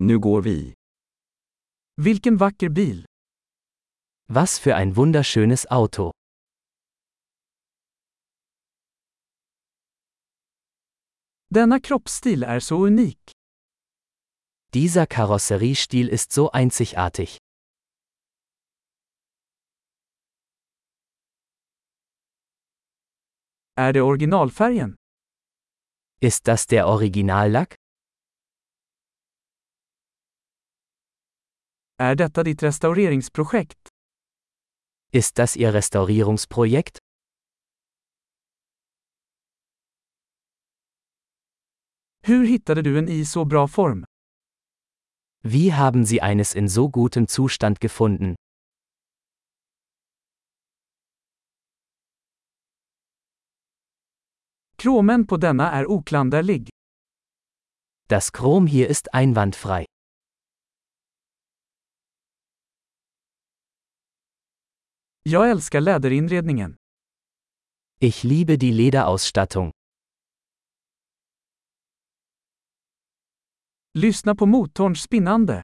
Nu går vi. Vilken vacker bil. Was für ein wunderschönes Auto. Denna kroppsstil är så unik. Dieser Karosseriestil ist so einzigartig. Är det originalfärgen? Ist das der Originallack? Är detta ditt restaureringsprojekt? Ist das Ihr Restaurierungsprojekt? Hur hittade du en i så bra form? Wie haben Sie eines in so gutem Zustand gefunden? Kromen på denna är oklanderlig. Das Chrom hier ist einwandfrei. Jag älskar läderinredningen. Ich liebe die Lederausstattung. Lyssna på motorns spinnande.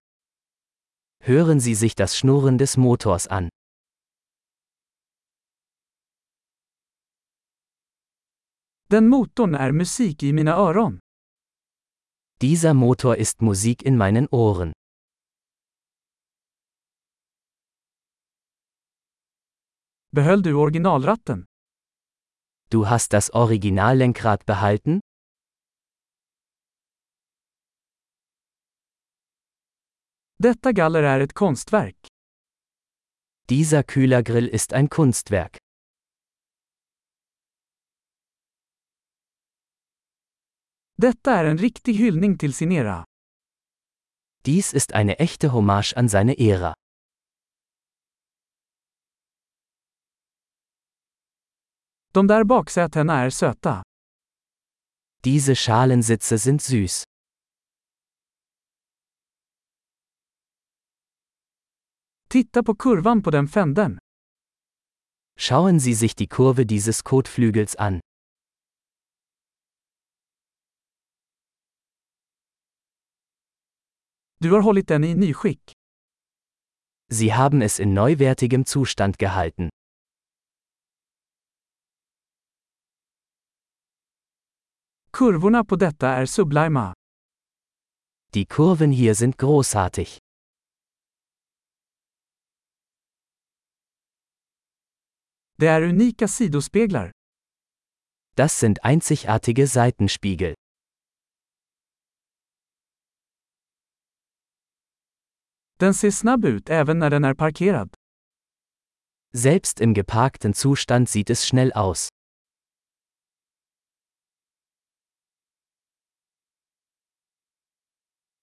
Hören Sie sich das Schnurren des Motors an. Den motorn är musik i mina öron. Dieser Motor ist Musik in meinen Ohren. Behöll du originalratten? Du hast das Originallenkrad behalten? Detta galler är ett konstverk. Dieser Kühlergrill ist ein Kunstwerk. Detta är en riktig hyllning till sin era. Dies ist eine echte Hommage an seine Ära. De där baksätena är söta. Diese Schalensitze sind süß. Titta på kurvan på den fänden. Schauen Sie sich die Kurve dieses Kotflügels an. Du har hållit den i nyskick. Sie haben es in neuwertigem Zustand gehalten. Kurvorna på detta är sublima. Die Kurven hier sind großartig. Det är unika sidospeglar. Das sind einzigartige Seitenspiegel. Den ser snabb ut även när den är parkerad. Selbst im geparkten Zustand sieht es schnell aus.